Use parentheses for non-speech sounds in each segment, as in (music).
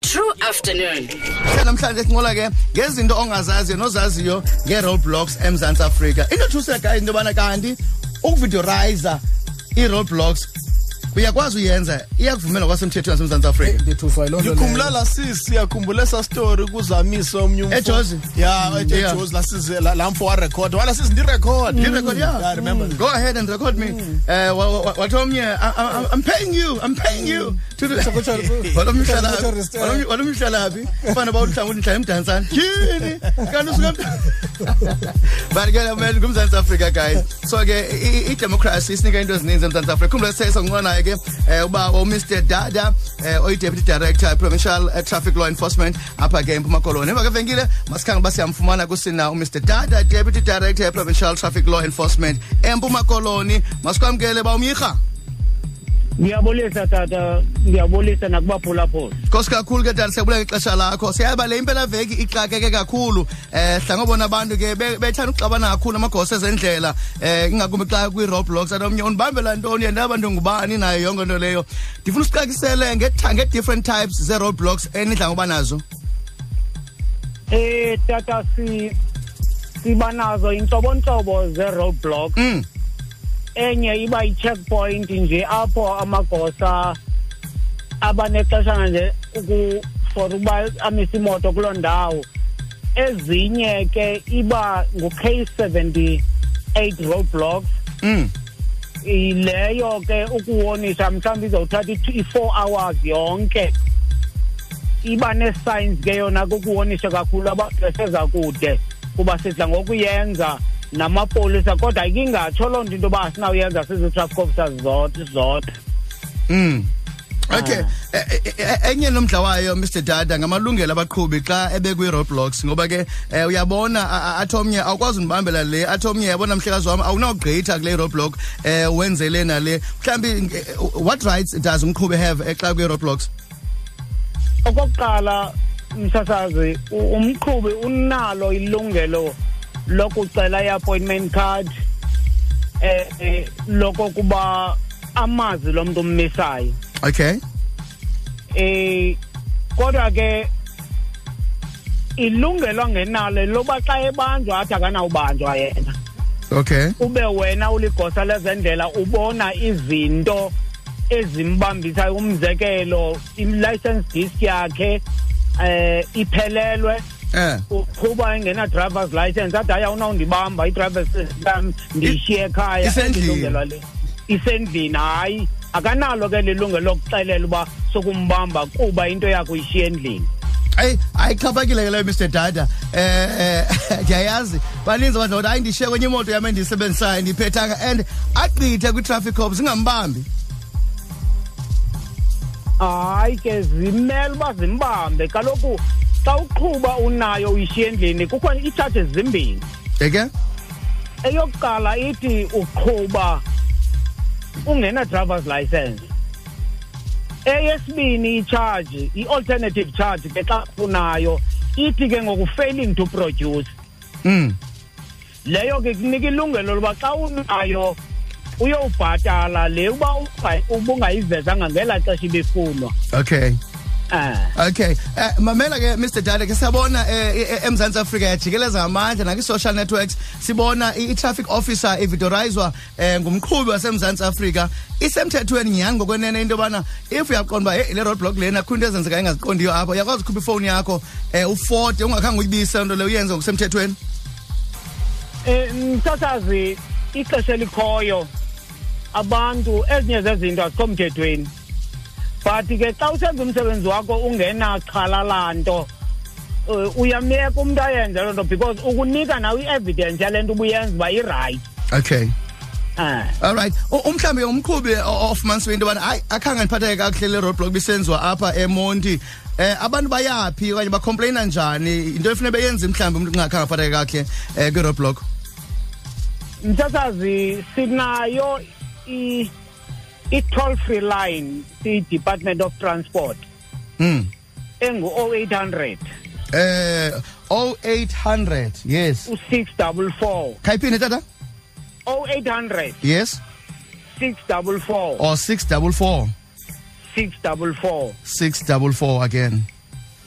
True afternoon. namhlanje sinqola ke ngezinto ongazaziyo nozaziyo nge-roadblocks emzantsi afrika into thusekayo into yobana kanti ukuvideorayiza i-roadblocks uyakwazi uyenza iyakuvumelwa kwasemthethweni wasemzantsi afrika ndithuswa yiloo nto ndikhumbula leyo. laa sisi yakhumbula esaa story kuzamisa omnye umfo- EJozi? ya e- Yeah. ejozi laa sisi la- laa mfo warekhoda wala sisi ndirekhode Ndirecord, yeah. Yeah, I remember that. go ahead and record me Eh, wa- wa- wa- wathi omnye "I- I- I'm paying you I'm paying you To the- kutsho- Walomnye kutsho- uhlala- kutsho restore. walomnye- walomnye uhlalaphi fana bawuhlanga ndihlala emdansane yini kanti usuka emda- (laughs) but ke man kumzantsi afrika guys so ke i- i- idemocracy isinika into ezininzi emzantsi afrika khumbula sesanqonayo ke um uba umr dada um oyi-deputy director provincial eh, traffic law enforcement apha ke empuma koloni emva kwevenkile masikhanga uba siyamfumana kusina umr dada deputy director provincial traffic law enforcement empuma koloni masikwamkele ba umyirha ndiyabulisa tata ndiyabulisa nakubaphulaphula Nkosi kakhulu ke dani siyabulela ngexesha lakho. Siyaba le impela veki ixakeke kakhulu. Eh hlangobona abantu ke be- bethanda ukuxabana kakhulu amagosa ezendlela. Eh ingakumbi xa kwi roadblocks anomnye unibambela ntoni yena abantu ngubani nayo yonke into leyo. Ndifuna usiqakisele nge different types ze roadblocks enidla ngoba nazo. eh tata si siba nazo intlobontlobo ze-roadblock Mm. enye iba yi-checkpoint nje apho amagosa abanexeshana nje uku- for ukuba amise imoto kuloo ndawo ezinye ke iba ngu-k seventy-eight roadblocks Mm. leyo ke ukuwonisha mhlawumbi izawuthatha i-four hours yonke iba ne-signs ke yona kukuwonisha kakhulu abantu beseza kude kuba sidla ngokuyenza namapolisa kodwa ikingatsho loo nto into yoba asinawuyenza sizi-traffic officers zodwa zodwa Mm. Okay. Eh, eh, eh, Enye nomdla wayo Mr Dada ngamalungelo abaqhubi xa ebekwe roadblocks ngoba ke eh, uyabona a- a- athi omnye awukwazi unibambela le athi omnye yabona mhlekazi wami awunawugqitha kule roadblock eh wenzele nale mhlambi eh, what rights does umqhubi have eh, xa kwe roadblocks? okokuqala msasazi u- umqhubi unalo ilungelo lokucela i-appointment card eh, eh lokokuba amazi lo mntu ummisayo Okay. eh kodwa ke ilungelo angenalo loba xa ebanjwa athi akanawubanjwa yena Okay. ube wena uligosa lezendlela ubona izinto ezimbambisayo umzekelo i-license disk yakhe eh iphelelwe Eh. uqhuba engena driver's license athi hayi awunawundibamba i-driver's yam ndiyishiye ekhaya isendlini. Ilungelo le- isendlini hayi akanalo ke lilungelo lokuxelela uba sokumbamba kuba into yakho uyishiye endlini Ay ayixhaphakile ke leyo Mr Dada. (laughs) Eh eh, ndiyayazi baninzi abantu bathi hayi ndishiye kwenye imoto yami endiyisebenzisayo ndiphethanga and agqithe kwi traffic cops ingambambi. hayi ke zimele uba zimbambe kaloku xa uqhuba unayo uyishiye endlini kukho iitshaje zimbini Eke? eyokuqala ithi uqhuba ungena driver's license eyesibini icharge i-alternative charge ke xa unayo ithi ke ngoku failing to produce Mm. leyo ke kunika ilungelo loba xa unayo uyowubhatala le uba unga- ubungayivezanga ngelaa xesha ibifunwa Okay. um Okay. Eh, mamela ke Mr Dale ke siyabona eh, eh, eh, eMzantsi Afrika yajikeleza ngamandla nakwi social networks sibona i- i-traffic officer evidorizwa eh, ngumqhubi waseMzantsi Afrika isemthethweni nyhani ngokwenene into yobana if uyaqonda uba hey, le roadblock lena kho into ezenzeka engaziqondiyo apha uyakwazi ukhupha ifowuni yakho eh, ufote ungakhange uyibise nto leyo uyenze ngokusemthethweni Eh, mthathazi ixesha elikhoyo abantu ezinye zezinto azikho mthethweni but ke xa usenza umsebenzi wakho ungenaxhala lanto eh, uyamyeka umntu ayenze loo nto because ukunika nawe i-evidence yale nto ubuyenza uba irayithi okay um all right umhlawumbi umqhubi ofumanisiwe into yobana hayi akhange ndiphatheke kakuhle le roadblock bisenziwa apha emonti um abantu bayaphi okanye bacomplaina njani yinto efune beyenze mhlawumbi umntu kungakhange aphatheke kakuhle um kwi-roadblock mthathazi sinayo i- i-toll free line siyi-department of transport um engu-0800 um o eight hundred yes u-six double four khayiphinde tata 0800 yes six double four or six double four six double four six double four again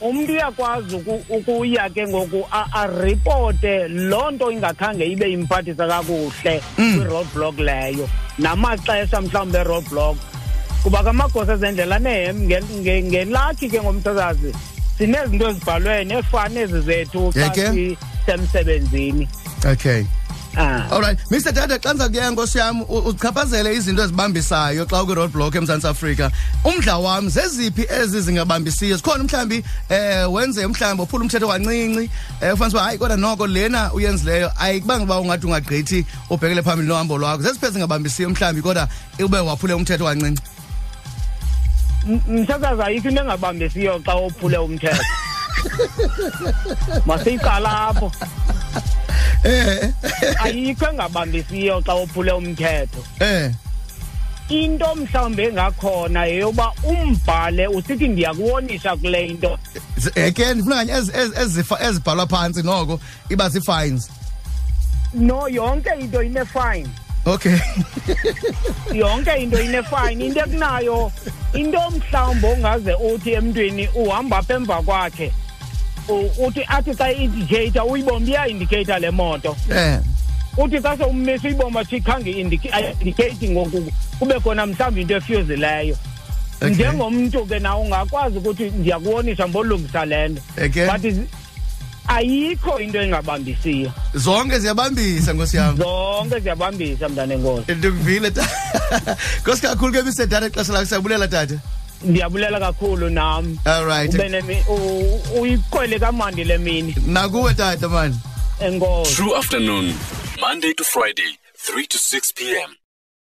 umntu uyakwazi uku- ukuya ke ngoku a- aripote loo nto ingakhange ibe imphathisa kakuhle kwi-roadblock leyo namaxesha mhlawumbi e-roadblock kuba kamagosa ezendlela nehem nge- nge- ngelakhi ke ngomthazazi sinezinto ezibhalwe neefani ezi zethu xa Yeke. sisemsebenzini okay ah Alright, Mr Dada xa ndiza kuya nkosi yam u- uzichaphazele izinto ezibambisayo xa ukwi-road block eMzantsi Afrika. Umdla wam zeziphi ezi zingabambisiyo? Sikhona mhlambi eh wenze mhlambi ophula umthetho kancinci, eh ufanele uba hayi kodwa noko lena uyenzileyo ayikubanga uba ungathi ungagqithi ubhekele phambili nohambo lwakho. Zeziphi ezingabambisiyo mhlambi kodwa ube waphule umthetho kancinci? mthathazi ayikho into engabambisiyo xa wophule umthetho masiyiqalapho Eh ayikho engabambisiyo xa wophule umthetho eh into mhlawumbi engakhona yeyoba umbhale usithi ndiyakuwonisha kule into Z- eh, ke ndifuna kanye ezi- ezi- ezifa- ezibhalwa phantsi noko iba zii-fines. no yonke into inefine Okay. (laughs) yonke into inefine into ekunayo into mhlawumbi ongaze uthi emntwini uhamba apha emva kwakhe u- uthi athi xa i-indicator uyibomba iya-indicator le moto Eh. uthi xa sowummisa uyibomba thi khange indiki- ayi-indicate ngoku kube khona mhlawumbi into efyuzileyo Okay. njengomntu ke na ungakwazi ukuthi ndiyakuwonisha mbolungisa le nto Okay. but is- ayikho into engabambisiyo Zonke ziyabambisa nkosi yam. zonke ziyabambisa mntane ngozi ndikuvile tata (laughs) nkosi kakhulu ke mr data xesha lakho siyabulela tata ndiyabulela kakhulu nam all right ube nemi- u- u- uyiqwele kamandi le mini nakuwe tata mani enkosi True afternoon, Monday to Friday, 3 to 6 p.m.